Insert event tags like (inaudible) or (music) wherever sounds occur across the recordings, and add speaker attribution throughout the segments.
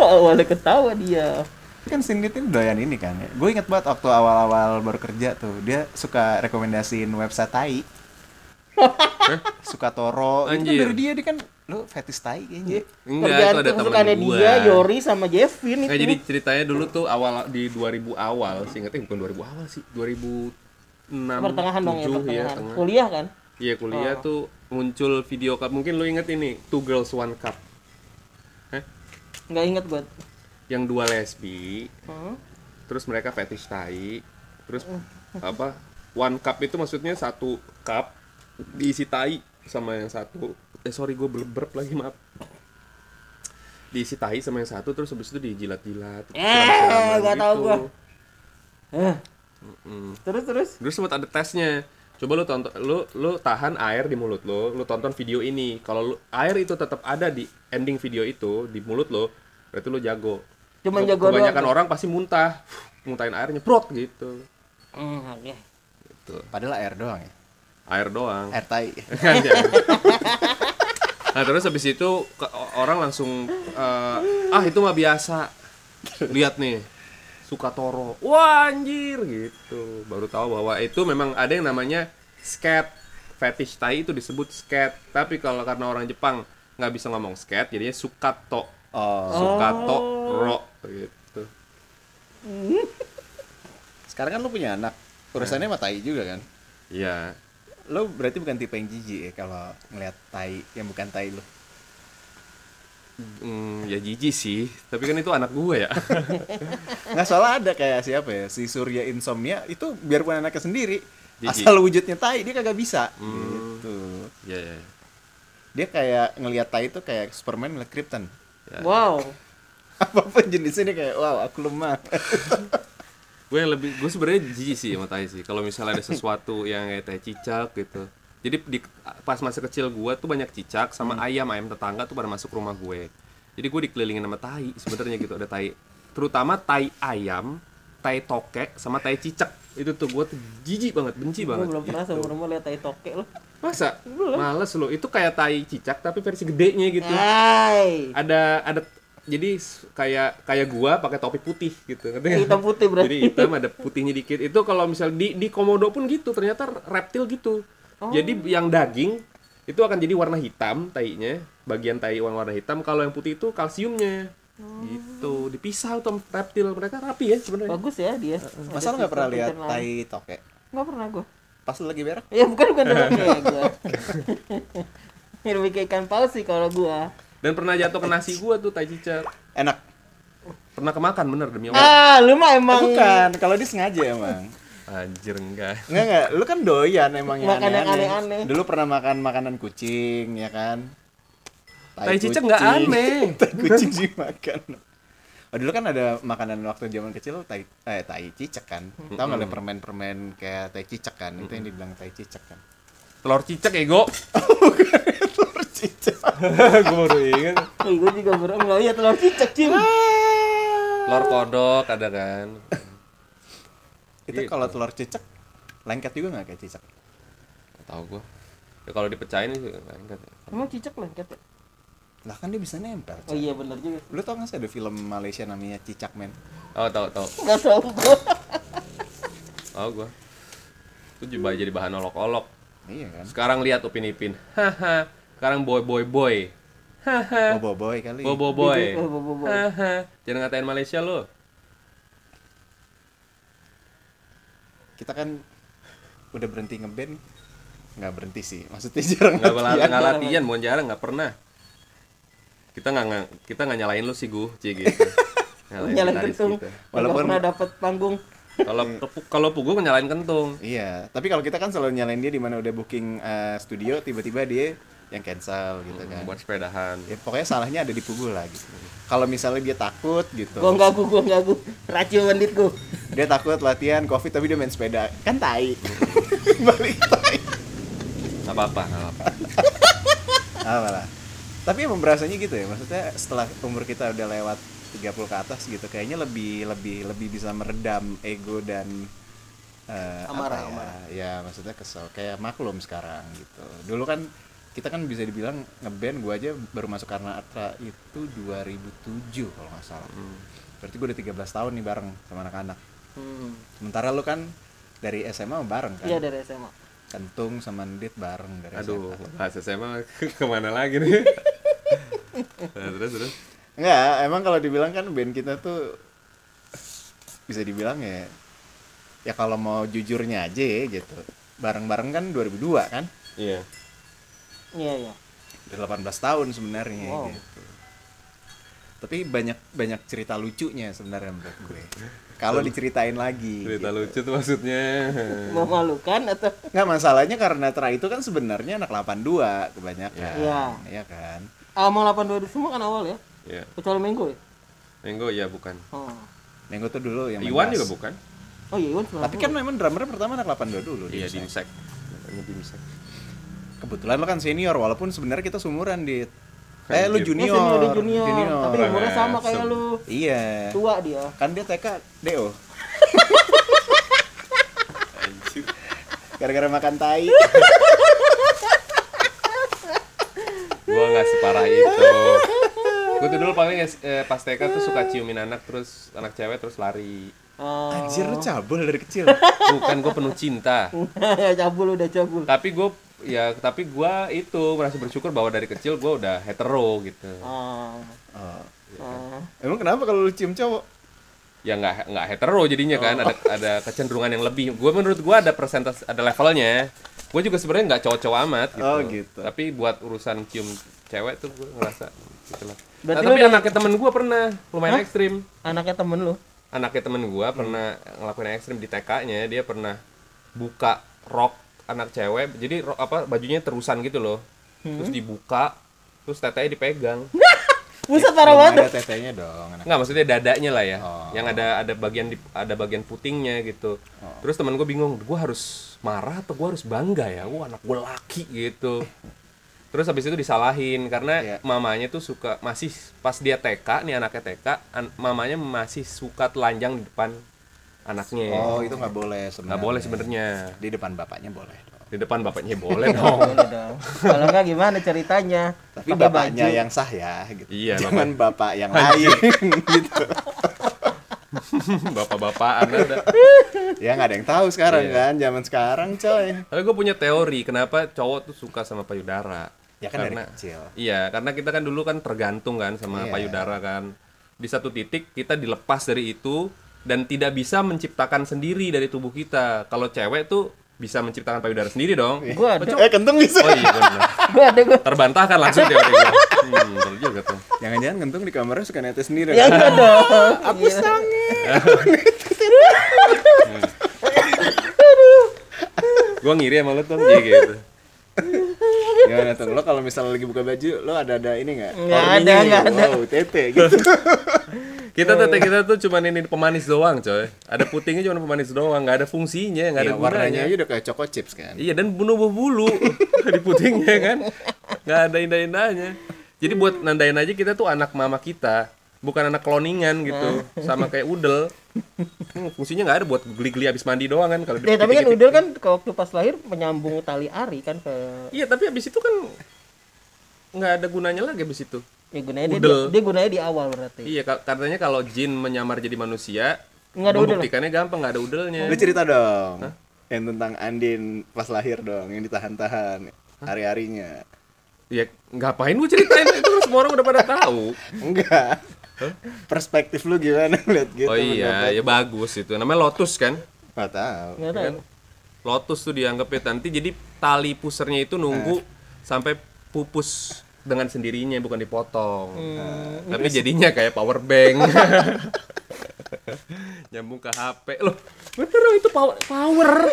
Speaker 1: awalnya ketawa dia
Speaker 2: kan Sindit ini doyan ini kan ya. Gue inget banget waktu awal-awal baru kerja tuh, dia suka rekomendasiin website
Speaker 3: (laughs)
Speaker 2: tai. suka toro.
Speaker 3: Eh?
Speaker 2: Itu kan
Speaker 3: Anjir. Iya.
Speaker 2: dari dia dia kan lu fetish tai kayaknya.
Speaker 3: Enggak,
Speaker 1: Kerjaan
Speaker 3: itu ada teman
Speaker 1: kesukaannya
Speaker 3: gua.
Speaker 1: dia Yori sama Jevin itu
Speaker 3: Nah, jadi ceritanya dulu tuh awal di 2000 awal, sih ingetnya bukan 2000 awal sih, 2006
Speaker 1: pertengahan dong
Speaker 3: 7,
Speaker 1: ya pertengahan
Speaker 3: iya, tengah.
Speaker 1: kuliah kan
Speaker 3: Iya kuliah
Speaker 1: Oh.
Speaker 3: tuh muncul video cup. Mungkin lu inget ini Two Girls One Cup. Hah?
Speaker 1: nggak inget gue
Speaker 3: Yang dua lesbi,
Speaker 1: hmm?
Speaker 3: terus mereka fetish tai, terus apa? One cup itu maksudnya satu cup diisi tai sama yang satu. Eh sorry gue berberp lagi maaf. Diisi tai sama yang satu terus habis itu dijilat-jilat.
Speaker 1: Eh,
Speaker 3: siram-siraman
Speaker 1: nggak tahu
Speaker 3: gitu.
Speaker 1: gua. Eh,
Speaker 3: Mm.
Speaker 1: terus terus
Speaker 3: Terus sempat ada tesnya. Coba lu tonton lu lu tahan air di mulut lu, lu tonton video ini. Kalau lu air itu tetap ada di ending video itu di mulut lu, berarti lu jago.
Speaker 1: Cuman
Speaker 3: Ke-
Speaker 1: jago doang ya?
Speaker 3: Kebanyakan
Speaker 1: tuh.
Speaker 3: orang pasti muntah. Muntahin air nyeprot gitu.
Speaker 1: hmm, oke
Speaker 3: Gitu.
Speaker 2: Padahal air doang ya.
Speaker 3: Air doang. (laughs) Kan, ya.
Speaker 2: Air tai.
Speaker 3: nah, terus habis itu ke- orang langsung eh, ah itu mah biasa. Lihat nih. Suka toro. Wah, anjir gitu. Baru tahu bahwa itu memang ada yang namanya sket. Fetish tai itu disebut sket. Tapi kalau karena orang Jepang nggak bisa ngomong sket, jadinya sukato.
Speaker 2: Oh.
Speaker 3: Sukato ro gitu.
Speaker 2: Sekarang kan lu punya anak. Urusannya sama tai juga kan.
Speaker 3: Iya.
Speaker 2: Lu berarti bukan tipe yang jijik ya kalau ngeliat tai yang bukan tai lu.
Speaker 3: Hmm, ya jijik sih, tapi kan itu anak gue ya.
Speaker 2: Nggak salah ada kayak siapa ya, si Surya Insomnia itu biarpun anaknya sendiri.
Speaker 3: Jijik.
Speaker 2: Asal wujudnya tai dia kagak bisa.
Speaker 3: Hmm.
Speaker 2: Gitu.
Speaker 3: Iya, iya.
Speaker 2: Dia kayak ngeliat tai itu kayak Superman ngeliat Krypton. (laughs)
Speaker 3: Ya.
Speaker 1: wow
Speaker 2: Apapun jenisnya dia kayak wow aku lemah.
Speaker 3: gue yang lebih gue sebenarnya jijik sih sama tai sih kalau misalnya ada sesuatu yang kayak tai cicak gitu jadi di, pas masa kecil gue tuh banyak cicak sama
Speaker 1: Hmm.
Speaker 3: ayam ayam tetangga tuh pada masuk rumah gue jadi gue dikelilingin sama tai sebenarnya gitu ada tai terutama tai ayam tai tokek sama tai cicak itu tuh gue tuh jijik banget benci
Speaker 1: gue
Speaker 3: banget
Speaker 1: belum pernah
Speaker 3: gitu.
Speaker 1: seumur umur lihat tai toke lo
Speaker 3: masa males lo itu kayak tai cicak tapi versi gedenya gitu
Speaker 1: Ah, Hai.
Speaker 3: ada ada jadi s- kayak kayak gua pakai topi putih gitu ngerti nggak?
Speaker 1: Hitam putih berarti.
Speaker 3: jadi hitam ada putihnya dikit itu kalau misal di di komodo pun gitu ternyata reptil gitu
Speaker 1: Oh.
Speaker 3: jadi yang daging itu akan jadi warna hitam tainya bagian tai warna warna hitam kalau yang putih itu kalsiumnya
Speaker 1: Oh.
Speaker 3: gitu dipisah tuh sama reptil mereka rapi ya sebenarnya
Speaker 1: bagus ya dia
Speaker 2: Masa
Speaker 1: Ada
Speaker 2: lu nggak pernah
Speaker 1: sistem
Speaker 2: lihat
Speaker 1: internal.
Speaker 2: tai toke?
Speaker 1: nggak pernah gue
Speaker 2: Pas lu lagi berak?
Speaker 1: ya bukan
Speaker 3: (laughs)
Speaker 1: bukan dalam ya (laughs) gue lebih kayak ikan paus sih kalau gue
Speaker 3: dan pernah jatuh ke nasi gua tuh tai cicak
Speaker 2: Enak.
Speaker 3: pernah kemakan bener demi allah
Speaker 1: ah lu mah emang
Speaker 2: Bukan, kalau dia sengaja
Speaker 3: (laughs)
Speaker 2: emang.
Speaker 1: Ah.
Speaker 3: anjir enggak
Speaker 2: Enggak enggak, lu kan doyan emang yang
Speaker 1: Makan yang
Speaker 2: aneh-aneh.
Speaker 1: aneh-aneh.
Speaker 2: Dulu pernah makan makanan kucing ya kan?
Speaker 3: Tai cicak nggak
Speaker 2: kucing.
Speaker 3: aneh.
Speaker 2: (laughs) tai kucing dimakan. Oh, dulu kan ada makanan waktu zaman kecil tai eh tai cicak kan. Tahu nggak ada permen-permen kayak tai cicak kan? Itu yang dibilang tai cicak kan. (laughs)
Speaker 3: telur cicak ego
Speaker 2: Telur cicak.
Speaker 3: gua baru ingat
Speaker 1: gue juga pernah nggak iya telur cicak cim
Speaker 3: Ah. telur kodok ada kan
Speaker 2: Itu
Speaker 3: Gitu.
Speaker 2: kalau telur cicak lengket juga nggak kayak cicak?
Speaker 3: Nggak tahu gua ya kalau dipecahin sih lengket ya.
Speaker 1: emang cicak lengket ya?
Speaker 2: Lah kan dia bisa nempel.
Speaker 1: oh iya bener juga
Speaker 2: Lu tau gak sih ada film Malaysia namanya Cicak Men?
Speaker 3: oh tahu tahu
Speaker 1: nggak tahu gue
Speaker 3: tahu gua itu juga jadi bahan olok-olok
Speaker 2: Iya kan?
Speaker 3: sekarang lihat upin ipin haha sekarang boy boy boy haha
Speaker 2: Bobo Boy kali.
Speaker 3: Eh. bobo boy
Speaker 1: Bobo- bobo boy.
Speaker 3: haha jangan ngatain Malaysia lo
Speaker 2: Kita kan udah berhenti ngeband. Nggak berhenti sih. Maksudnya jarang
Speaker 3: nggak bela-
Speaker 1: Iya,
Speaker 2: latihan.
Speaker 3: nggak latihan mau jarang nggak pernah kita nggak nggak- kita nggak nyalain lu sih gua cie
Speaker 1: (laughs)
Speaker 3: gitu Nyalain
Speaker 1: nyalain
Speaker 3: gitaris
Speaker 1: kentung
Speaker 3: kita.
Speaker 1: nggak
Speaker 2: gitu. Walaupun-
Speaker 1: pernah dapat panggung
Speaker 3: kalau kepu- kalau pugu nyalain kentung
Speaker 2: Iya, tapi kalau kita kan selalu nyalain dia di mana udah booking eh, studio tiba-tiba dia yang cancel gitu kan.
Speaker 3: buat sepedahan
Speaker 2: Ya, pokoknya salahnya ada di pukul lah gitu. Kalau misalnya dia takut gitu.
Speaker 1: gue nggak gue gue nggak gue racun bandit gue
Speaker 2: Dia takut latihan covid tapi dia main sepeda. Kan
Speaker 3: (laughs)
Speaker 2: tai. Balik tai.
Speaker 3: nggak apa-apa nggak apa-apa
Speaker 2: Apalah. Ah, Tapi emang berasanya gitu ya. Maksudnya setelah umur kita udah lewat 30 ke atas gitu kayaknya lebih lebih lebih bisa meredam ego dan eh,
Speaker 1: Amarah,
Speaker 2: apa ya?
Speaker 1: amarah.
Speaker 2: ya maksudnya kesel kayak maklum sekarang gitu dulu kan kita kan bisa dibilang ngeband gue aja baru masuk karena Arta itu 2007 kalau nggak salah berarti gue udah 13 tahun nih bareng sama anak-anak
Speaker 1: Hmm.
Speaker 2: sementara lu kan dari SMA bareng kan
Speaker 1: Iya dari SMA.
Speaker 2: kentung sama Ndit bareng dari
Speaker 3: Aduh,
Speaker 2: SMA
Speaker 3: bahas SMA ke- (laughs) kemana lagi (laughs) nih? nah, terus terus.
Speaker 2: Enggak, emang kalau dibilang kan band kita tuh bisa dibilang ya ya kalau mau jujurnya aja ya gitu. Bareng-bareng kan 2002 kan?
Speaker 3: Iya.
Speaker 1: Iya iya.
Speaker 2: Udah 18 tahun sebenarnya
Speaker 1: Wow.
Speaker 2: gitu. Tapi banyak banyak cerita lucunya sebenarnya menurut
Speaker 3: (laughs)
Speaker 2: gue. Kalau diceritain lagi.
Speaker 3: Cerita lucu tuh maksudnya. (laughs)
Speaker 1: Memalukan atau
Speaker 2: Enggak masalahnya karena Tra itu kan sebenarnya anak 82 kebanyakan.
Speaker 1: Iya.
Speaker 2: Iya kan?
Speaker 1: ah, mau 82 semua kan awal ya?
Speaker 3: Iya.
Speaker 1: Kecuali Minggu ya?
Speaker 3: Menggo ya bukan.
Speaker 1: Oh.
Speaker 2: Nenggo tuh dulu yang main
Speaker 3: Iwan
Speaker 2: bass.
Speaker 3: juga bukan.
Speaker 1: Oh iya, Iwan 90.
Speaker 2: Tapi kan memang drummer pertama anak 82 dulu.
Speaker 3: Iya,
Speaker 2: Dimsek.
Speaker 3: Dimsek. Namanya Dimsek.
Speaker 2: Kebetulan lo kan senior walaupun sebenarnya kita sumuran di
Speaker 3: Kan
Speaker 2: eh lu
Speaker 3: gitu.
Speaker 1: Dia
Speaker 2: junior.
Speaker 1: Iya, senior, dia junior. Tapi
Speaker 3: Junior.
Speaker 1: umurnya sama kayak
Speaker 3: Sem-
Speaker 1: lu.
Speaker 2: Iya.
Speaker 1: Tua dia.
Speaker 2: Kan dia TK DO.
Speaker 3: Anjir.
Speaker 2: Gara-gara makan tai.
Speaker 3: Gua nggak separah itu. Gue tuh dulu paling eh, pas TK tuh suka ciumin anak terus anak cewek terus lari.
Speaker 1: Oh.
Speaker 2: Anjir lu cabul dari kecil.
Speaker 3: Bukan gue penuh cinta.
Speaker 1: (laughs) cabul udah cabul.
Speaker 3: Tapi gue ya tapi gue itu merasa bersyukur bahwa dari kecil gue udah hetero gitu.
Speaker 1: Ah.
Speaker 2: Oh.
Speaker 1: Ah.
Speaker 2: Emang kenapa kalau lu cium cowok?
Speaker 3: ya nggak nggak hetero jadinya kan
Speaker 2: Oh.
Speaker 3: ada ada kecenderungan yang lebih gue menurut gue ada persentase ada levelnya gue juga sebenarnya nggak cowok-cowok amat gitu.
Speaker 2: Oh, gitu.
Speaker 3: tapi buat urusan cium cewek tuh gue ngerasa gitu lah Nah,
Speaker 1: Berarti lu
Speaker 3: tapi
Speaker 1: dari-
Speaker 3: anaknya temen gue pernah lumayan ekstrim
Speaker 1: Anaknya temen lu.
Speaker 3: anaknya temen gue pernah ngelakuin yang ekstrim di TK-nya dia pernah buka rok anak cewek jadi rok- apa bajunya terusan gitu loh
Speaker 1: Hmm.
Speaker 3: terus dibuka terus tetenya dipegang
Speaker 1: Buset parah
Speaker 2: Belum
Speaker 1: banget.
Speaker 2: Ada tetenya dong anak.
Speaker 3: Nggak maksudnya dadanya lah ya,
Speaker 2: Oh.
Speaker 3: yang ada ada bagian di, ada bagian putingnya gitu. Terus teman gue bingung, gue harus marah atau gue harus bangga ya? Wah anak gue laki gitu. Terus habis itu disalahin
Speaker 2: Iya.
Speaker 3: karena mamanya tuh suka masih pas dia TK nih anaknya TK, an- mamanya masih suka telanjang di depan anaknya.
Speaker 2: Oh, itu nggak boleh sebenarnya.
Speaker 3: nggak boleh sebenarnya
Speaker 2: Di depan bapaknya boleh. dong.
Speaker 3: di depan bapaknya boleh dong. (laughs)
Speaker 1: Boleh dong. Oh, Kalau enggak gimana ceritanya?
Speaker 2: Tapi
Speaker 1: Pakai
Speaker 2: bapaknya
Speaker 1: baju.
Speaker 2: yang sah ya gitu.
Speaker 3: Iya,
Speaker 2: Jangan bapak yang lain (laughs) gitu.
Speaker 3: Bapak-bapakan ada.
Speaker 2: Ya nggak ada yang tahu sekarang
Speaker 3: Iya.
Speaker 2: kan, zaman sekarang coy.
Speaker 3: Tapi gue punya teori kenapa cowok tuh suka sama payudara.
Speaker 2: Ya kan dari kecil.
Speaker 3: Iya, karena kita kan dulu kan tergantung kan sama
Speaker 2: Iya.
Speaker 3: payudara kan. Di satu titik kita dilepas dari itu dan tidak bisa menciptakan sendiri dari tubuh kita. Kalau cewek tuh bisa menciptakan payudara sendiri dong.
Speaker 1: Gua ada.
Speaker 2: Eh kentung bisa.
Speaker 3: Oh iya benar.
Speaker 1: Gua ada gua.
Speaker 3: Terbantahkan langsung teori gue. Hmm, bener juga tuh.
Speaker 2: Jangan-jangan kentung di kamarnya suka netes sendiri.
Speaker 1: Ya enggak dong.
Speaker 2: Hapus dong.
Speaker 3: Gua ngiri sama lu tuh kayak gitu.
Speaker 2: Gimana tuh? Lo kalau misalnya lagi buka baju, lo ada-ada ini nggak?
Speaker 1: Nggak
Speaker 2: Horninya
Speaker 1: ada,
Speaker 2: nih.
Speaker 1: nggak ada.
Speaker 2: Wow, tete gitu.
Speaker 3: Kita tuh kita tuh cuman ini pemanis doang, coy. Ada putingnya cuma pemanis doang, nggak ada fungsinya, nggak ada
Speaker 2: ya, warnanya
Speaker 3: gunanya.
Speaker 2: aja udah kayak choco chips kan.
Speaker 3: Iya dan bunuh bulu (laughs) di putingnya kan nggak ada indah-indahnya. Jadi buat nandain aja kita tuh anak mama kita bukan anak kloningan gitu
Speaker 1: Nah.
Speaker 3: sama kayak udel. Hmm, fungsinya nggak ada buat geli-geli abis mandi doang kan kalau
Speaker 1: Ya, tapi kan
Speaker 3: (laughs) dipitik-pitik.
Speaker 1: Udel kan ke waktu pas lahir menyambung tali ari kan ke
Speaker 3: Iya tapi abis itu kan nggak ada gunanya lagi abis itu.
Speaker 1: ya gunanya dia,
Speaker 3: Udel.
Speaker 1: dia gunanya di awal berarti.
Speaker 3: Iya ka- katanya kalau jin menyamar jadi manusia
Speaker 1: Nggak ada udel.
Speaker 3: membuktikannya gampang nggak ada udelnya.
Speaker 2: Lo cerita dong. Yang tentang Andin pas lahir dong, yang ditahan-tahan hari-harinya.
Speaker 3: Ya ngapain gue ceritain itu kan semua orang udah pada tahu.
Speaker 2: Enggak. Perspektif lu gimana (laughs) lihat gitu?
Speaker 3: Oh iya ya bagus itu namanya lotus kan.
Speaker 2: Gak tahu.
Speaker 1: Enggak tahu.
Speaker 3: Lotus tuh dianggapnya nanti jadi tali pusernya itu nunggu sampai pupus dengan sendirinya bukan dipotong. Nah, Tapi jadinya kayak power bank. (laughs) Nyambung ke HP. Loh, bener dong itu power power.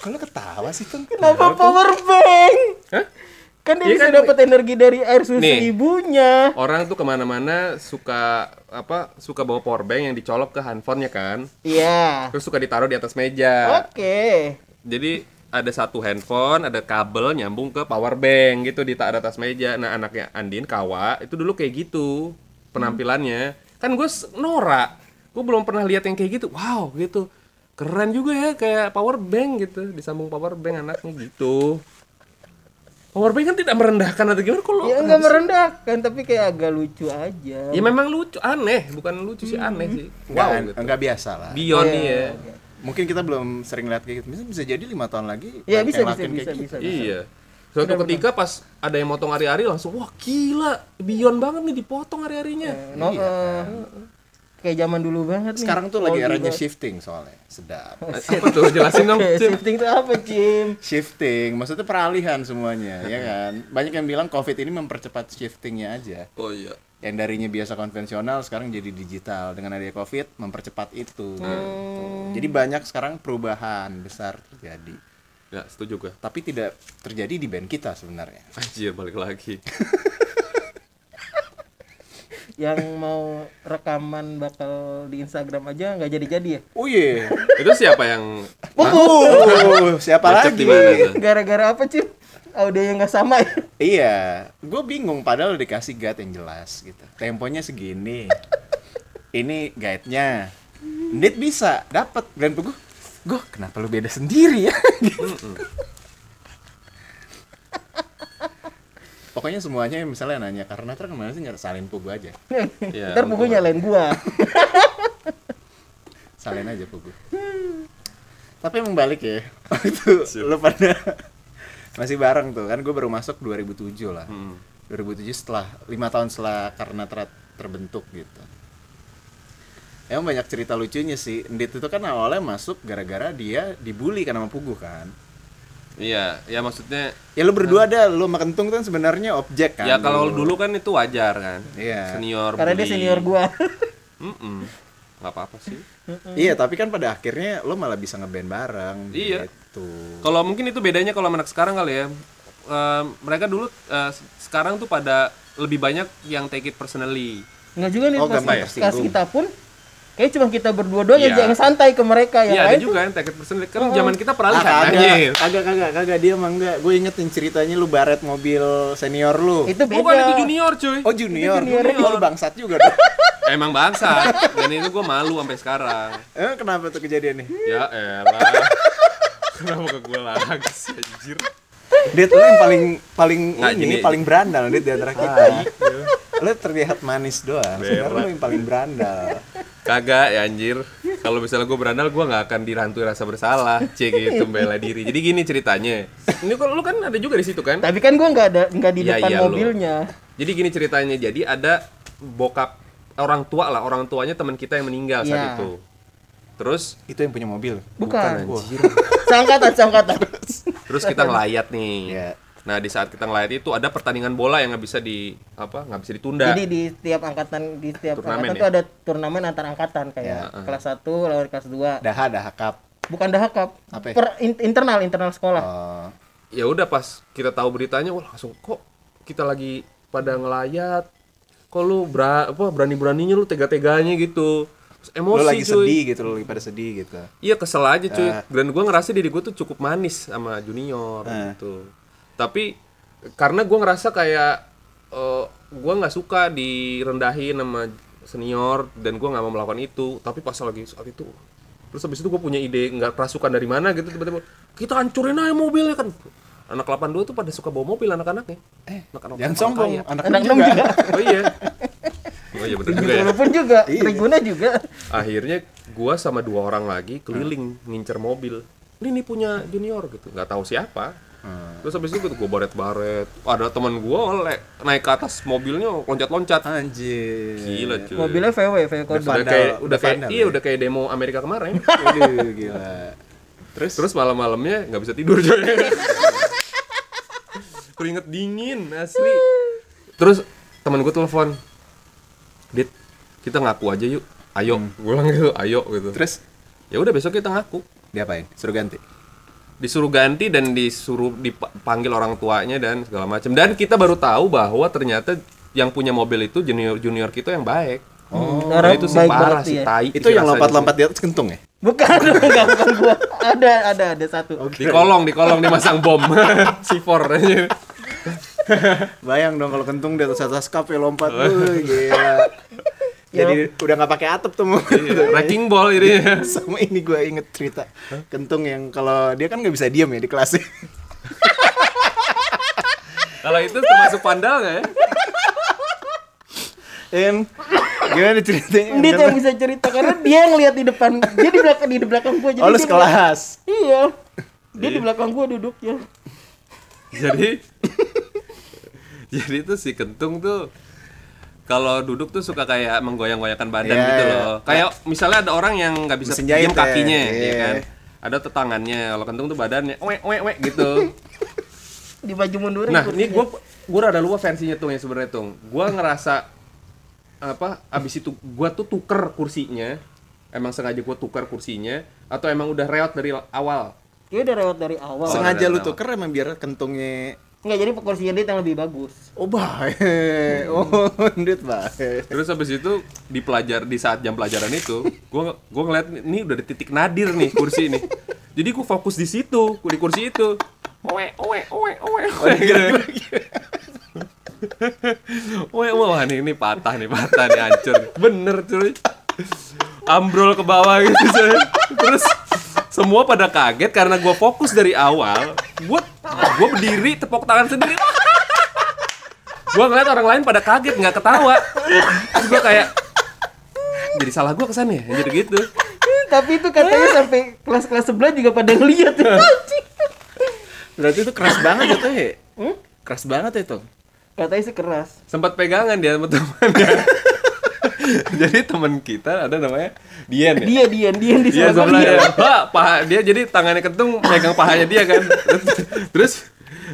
Speaker 2: Kok lo ketawa sih tuh?
Speaker 1: Kenapa power bank?
Speaker 3: Hah?
Speaker 1: Kan dia
Speaker 3: Iya
Speaker 1: bisa
Speaker 3: kan,
Speaker 1: dapat energi dari air susu
Speaker 3: Nih.
Speaker 1: ibunya.
Speaker 3: Orang tuh kemana-mana suka apa suka bawa power bank yang dicolok ke handphonenya kan.
Speaker 1: Iya.
Speaker 3: Terus suka ditaruh di atas
Speaker 1: Oh,
Speaker 3: meja.
Speaker 1: Oke.
Speaker 3: Jadi ada satu handphone, ada kabel nyambung ke power bank gitu di ta- atas meja. Nah anaknya Andin Kawa itu dulu kayak gitu penampilannya. Kan gue norak, gue belum pernah lihat yang kayak gitu. Wow gitu. keren juga ya kayak power bank gitu disambung power bank anaknya gitu power bank kan tidak merendahkan atau gimana kalau
Speaker 1: Ya enggak merendahkan tapi kayak agak lucu aja.
Speaker 3: ya memang lucu aneh bukan lucu sih aneh sih
Speaker 2: Nggak,
Speaker 3: wow gitu
Speaker 2: nggak biasa lah.
Speaker 3: beyond
Speaker 1: Hmm. Iya,
Speaker 3: ya
Speaker 1: iya.
Speaker 2: Mungkin kita belum sering lihat kayak gitu. Bisa, bisa jadi lima tahun lagi.
Speaker 1: Ya bisa
Speaker 2: kayak
Speaker 1: bisa
Speaker 2: lakuin kayak
Speaker 1: bisa
Speaker 2: gitu.
Speaker 1: bisa. bisa.
Speaker 3: iya suatu ketika pas ada yang motong hari-hari langsung wah gila beyond banget nih dipotong hari-harinya
Speaker 1: No, eh, kayak zaman dulu banget nih.
Speaker 2: Sekarang tuh lagi
Speaker 1: Kalau
Speaker 2: eranya
Speaker 1: dibahas-
Speaker 2: shifting soalnya. Sedap.
Speaker 1: Iya.
Speaker 3: apa tuh
Speaker 1: (laughs)
Speaker 3: jelasin dong
Speaker 1: Eh,
Speaker 3: Cim.
Speaker 1: Shifting tuh apa, Cim?
Speaker 2: Shifting, maksudnya peralihan semuanya, ya kan? Banyak yang bilang COVID ini mempercepat shiftingnya aja.
Speaker 3: oh iya
Speaker 2: Yang darinya biasa konvensional sekarang jadi digital dengan adanya COVID mempercepat itu. gitu. Jadi banyak sekarang perubahan besar terjadi.
Speaker 3: nggak setuju gue
Speaker 2: Tapi tidak terjadi di band kita sebenarnya.
Speaker 3: anjir balik lagi
Speaker 1: Yang mau rekaman bakal di Instagram aja nggak jadi-jadi ya?
Speaker 2: Oh iya.
Speaker 3: itu siapa
Speaker 1: (laughs)
Speaker 3: yang
Speaker 2: Oh, siapa
Speaker 3: Bacot
Speaker 2: lagi?
Speaker 3: di mana tuh?
Speaker 1: Gara-gara apa, Cim? Audio yang nggak sama ya?
Speaker 2: Iya, gue bingung padahal udah dikasih guide yang jelas gitu. Temponya segini. Ini guide-nya. Ndit bisa dapat dan gue gue kenapa lu beda sendiri ya? (laughs) Gitu. Pokoknya semuanya misalnya nanya karena ter kemana sih nggak salin pugu aja,
Speaker 3: Ya,
Speaker 1: Ntar
Speaker 3: untung.
Speaker 1: buku nyalain gua.
Speaker 2: salin aja pugu. Tapi emang balik ya, (laughs) waktu lu pada masih bareng tuh kan gue baru masuk 2007 lah.
Speaker 3: Hmm.
Speaker 2: 2007 setelah lima tahun setelah karena ter- terbentuk gitu emang banyak cerita lucunya sih Ndit itu kan awalnya masuk gara-gara dia dibully kan sama Pugu kan
Speaker 3: iya ya maksudnya
Speaker 2: ya lu berdua ada lu sama Kentung kan sebenarnya objek kan
Speaker 3: Hmm. ya kalau dulu kan itu wajar kan
Speaker 2: Iya.
Speaker 3: senior
Speaker 1: Karena dia
Speaker 3: bully.
Speaker 1: senior gua. (laughs)
Speaker 3: Mm-mm. nggak apa-apa sih
Speaker 2: iya tapi kan pada akhirnya lu malah bisa ngeband bareng
Speaker 3: Iya.
Speaker 2: gitu
Speaker 3: kalau mungkin itu bedanya kalau sama anak sekarang kali ya Eh, mereka dulu eh, se- sekarang tuh pada lebih banyak yang take it personally
Speaker 1: Nggak juga nih
Speaker 2: Oh,
Speaker 1: pas,
Speaker 2: gampang ya,
Speaker 1: pas
Speaker 2: singgung.
Speaker 1: kita pun kayak cuma kita berdua doang
Speaker 3: Iya.
Speaker 1: yang santai ke mereka ya, yang
Speaker 3: Iya ada
Speaker 1: lain tuh
Speaker 3: juga yang take it personally kan zaman kita
Speaker 2: Ah,
Speaker 3: peralihan anjir.
Speaker 2: kagak, kagak, kagak, kagak, dia emang enggak Gue ingetin ceritanya lu baret mobil senior lu
Speaker 1: itu beda.
Speaker 3: bukan itu junior cuy
Speaker 2: Oh junior, Itu lu bangsat juga dong
Speaker 3: emang bangsa dan itu gue malu sampai sekarang
Speaker 2: Eh, kenapa tuh kejadiannya?
Speaker 3: (laughs) ya elah kenapa ke gue lagi sih, anjir
Speaker 2: Dit lu yang paling paling
Speaker 3: Nggak,
Speaker 2: ini
Speaker 3: gini.
Speaker 2: paling berandal Dit di antara kita. lu terlihat manis doang, sebenarnya lu yang paling berandal.
Speaker 3: Kagak ya anjir. Kalau misalnya gue berandal, gue nggak akan dirantui rasa bersalah. Cek gitu bela diri. Jadi gini ceritanya. Ini kok lu kan ada juga di situ kan?
Speaker 1: Tapi kan gua nggak ada nggak di
Speaker 3: Iya,
Speaker 1: depan
Speaker 3: iya, lu.
Speaker 1: mobilnya.
Speaker 3: Jadi gini ceritanya. Jadi ada bokap orang tua lah, orang tuanya teman kita yang meninggal saat
Speaker 1: Iya.
Speaker 3: itu. Terus
Speaker 2: Itu yang punya mobil.
Speaker 1: Bukan.
Speaker 3: anjir.
Speaker 1: (laughs) Sangkatan sangkatan.
Speaker 3: Terus
Speaker 2: (laughs)
Speaker 3: kita ngelayat nih.
Speaker 2: Iya.
Speaker 3: Nah, di saat kita ngelayat itu ada pertandingan bola yang nggak bisa di apa? nggak bisa ditunda.
Speaker 1: Jadi di setiap angkatan di setiap
Speaker 3: Iya. Turnamen ya? Iya,
Speaker 1: angkatan
Speaker 3: ah.
Speaker 1: tuh ada turnamen antar angkatan kayak kelas 1 lawan kelas 2.
Speaker 2: Daha daha kap.
Speaker 1: Bukan dahakap.
Speaker 2: Apa ya?
Speaker 1: Per in- internal internal sekolah.
Speaker 2: Oh,
Speaker 3: ya udah pas kita tahu beritanya wah langsung kok kita lagi pada ngelayat kok lu bra- apa berani beraninya lu tega teganya gitu Terus emosi
Speaker 2: lu lagi
Speaker 3: cuy
Speaker 2: sedih gitu, lu lagi pada sedih gitu.
Speaker 3: iya kesel aja cuy dan gua ngerasa diri gua tuh cukup manis sama junior gitu tapi karena gua ngerasa kayak eh, gua nggak suka direndahin sama senior dan gua nggak mau melakukan itu tapi pas lagi saat itu terus habis itu gua punya ide nggak kerasukan dari mana gitu tiba-tiba kita hancurin aja mobilnya kan anak 82 tuh pada suka bawa mobil anak-anaknya eh anak-anak
Speaker 2: Jangan
Speaker 3: orang
Speaker 2: sombong,
Speaker 3: kaya.
Speaker 2: anak,
Speaker 1: Anak
Speaker 2: lu
Speaker 1: enam
Speaker 2: juga.
Speaker 1: juga.
Speaker 3: oh iya oh iya bener juga ya
Speaker 1: Walaupun juga, tribunnya juga.
Speaker 3: akhirnya gua sama dua orang lagi keliling ngincer mobil ini nih punya junior gitu nggak tahu siapa
Speaker 2: Hmm.
Speaker 3: terus habis itu gue baret-baret ada teman gua oleh naik ke atas mobilnya loncat-loncat
Speaker 2: Anjir.
Speaker 3: (laughs) gila cuy
Speaker 1: Mobilnya VW, VW
Speaker 3: Iya. udah
Speaker 1: kodok.
Speaker 2: Vandal,
Speaker 3: kayak udah
Speaker 2: udah
Speaker 3: kayak
Speaker 2: vandal
Speaker 3: iya
Speaker 2: ya?
Speaker 3: udah kayak demo Amerika kemarin (laughs)
Speaker 2: Aduh, gila. Terus
Speaker 3: terus malam-malamnya nggak bisa tidur coy (laughs) keringet dingin asli terus teman gue telepon dit kita ngaku aja yuk ayo gue bilang gitu ayo gitu
Speaker 2: Hmm. terus
Speaker 3: ya udah besok kita ngaku
Speaker 2: diapain? Suruh ganti.
Speaker 3: disuruh ganti dan disuruh dipanggil orang tuanya dan segala macam dan kita baru tahu bahwa ternyata yang punya mobil itu junior junior kita yang baik
Speaker 1: Hmm,
Speaker 3: Dan
Speaker 1: orang
Speaker 3: Oh, itu sih
Speaker 1: baik
Speaker 3: parah
Speaker 1: banget
Speaker 3: sih
Speaker 1: ya.
Speaker 3: tai
Speaker 2: Itu
Speaker 3: rasanya.
Speaker 2: yang lompat-lompat di atas kentung ya?
Speaker 1: Bukan, (laughs) bukan, bukan gua. Ada, ada, ada satu.
Speaker 3: di kolong di kolong dimasang bom (laughs) C4 aja
Speaker 2: Bayang dong kalau kentung di atas atas kap ya lompat. Wuh, gila. (laughs) Jadi Iya, udah nggak pakai atap tuh mau. (laughs)
Speaker 3: Wrecking ball ini.
Speaker 2: Sama ini gue inget cerita kentung yang kalau dia kan nggak bisa diem ya (laughs) di kelas.
Speaker 3: Kalau itu termasuk pandal nggak ya?
Speaker 2: Em, Kan? gimana ceritanya? Kan?
Speaker 1: Dia yang bisa cerita karena dia yang lihat di depan, dia di belakang di belakang gua
Speaker 2: Oh lu
Speaker 1: dia
Speaker 2: sekelas.
Speaker 1: ngeliat- Iya. Dia
Speaker 3: Iya.
Speaker 1: di belakang gua ya. duduknya.
Speaker 3: jadi (laughs) jadi tuh si kentung tuh kalau duduk tuh suka kayak menggoyang-goyangkan badan
Speaker 2: Iya.
Speaker 3: gitu loh kayak misalnya ada orang yang nggak bisa
Speaker 2: Mesin jahit
Speaker 3: diam
Speaker 2: ya.
Speaker 3: kakinya ya
Speaker 2: Iya.
Speaker 3: kan ada tuh tangannya kalau kentung tuh badannya wek wek wek
Speaker 2: (laughs)
Speaker 3: gitu
Speaker 1: Di baju mundur.
Speaker 3: nah ini gue gue rada lupa versinya tuh yang sebenarnya tuh gue ngerasa apa abis itu gue tuh tuker kursinya emang sengaja gue tuker kursinya atau emang udah reot dari awal
Speaker 1: dia Ya udah lewat dari awal.
Speaker 3: Seng-
Speaker 2: Sengaja
Speaker 3: ada
Speaker 2: lu
Speaker 3: nama.
Speaker 2: tuker emang biar kentungnya
Speaker 1: Enggak jadi kursinya dia yang lebih bagus.
Speaker 2: Oh baik, (laughs) oh (laughs) duit baik.
Speaker 3: Terus habis itu di pelajar di saat jam pelajaran itu, gua gua ngeliat ini udah di titik nadir nih kursi ini. Jadi gua fokus di situ, di kursi itu. Owe owe owe owe. owe, gitu. Owe owe wah nih ini patah nih, patah nih hancur. Bener cuy. Ambrol ke bawah gitu cuy. Terus semua pada kaget karena gua fokus dari awal. Gua gua berdiri tepuk tangan sendiri gue ngeliat orang lain pada kaget nggak ketawa terus gue kayak jadi salah gue kesannya jadi gitu
Speaker 1: Tapi itu katanya sampai kelas-kelas sebelah juga pada
Speaker 3: (laughs)
Speaker 1: ngeliat. Anjing.
Speaker 2: Berarti itu keras banget ya tuh ya? Keras banget ya tuh.
Speaker 1: katanya sih keras.
Speaker 3: sempat pegangan dia sama
Speaker 2: (laughs)
Speaker 3: temannya jadi teman kita ada namanya Dian ya
Speaker 1: Dia dia dia di Iya.
Speaker 3: dia ya.
Speaker 1: sana.
Speaker 3: sebelahnya Pak, paha dia jadi tangannya kentung megang pahanya dia kan Terus- terus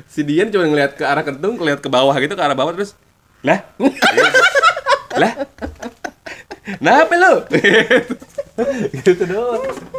Speaker 3: si Dian cuma ngeliat ke arah kentung ngeliat ke bawah gitu ke arah bawah terus lah lah Kenapa lu? gitu doang.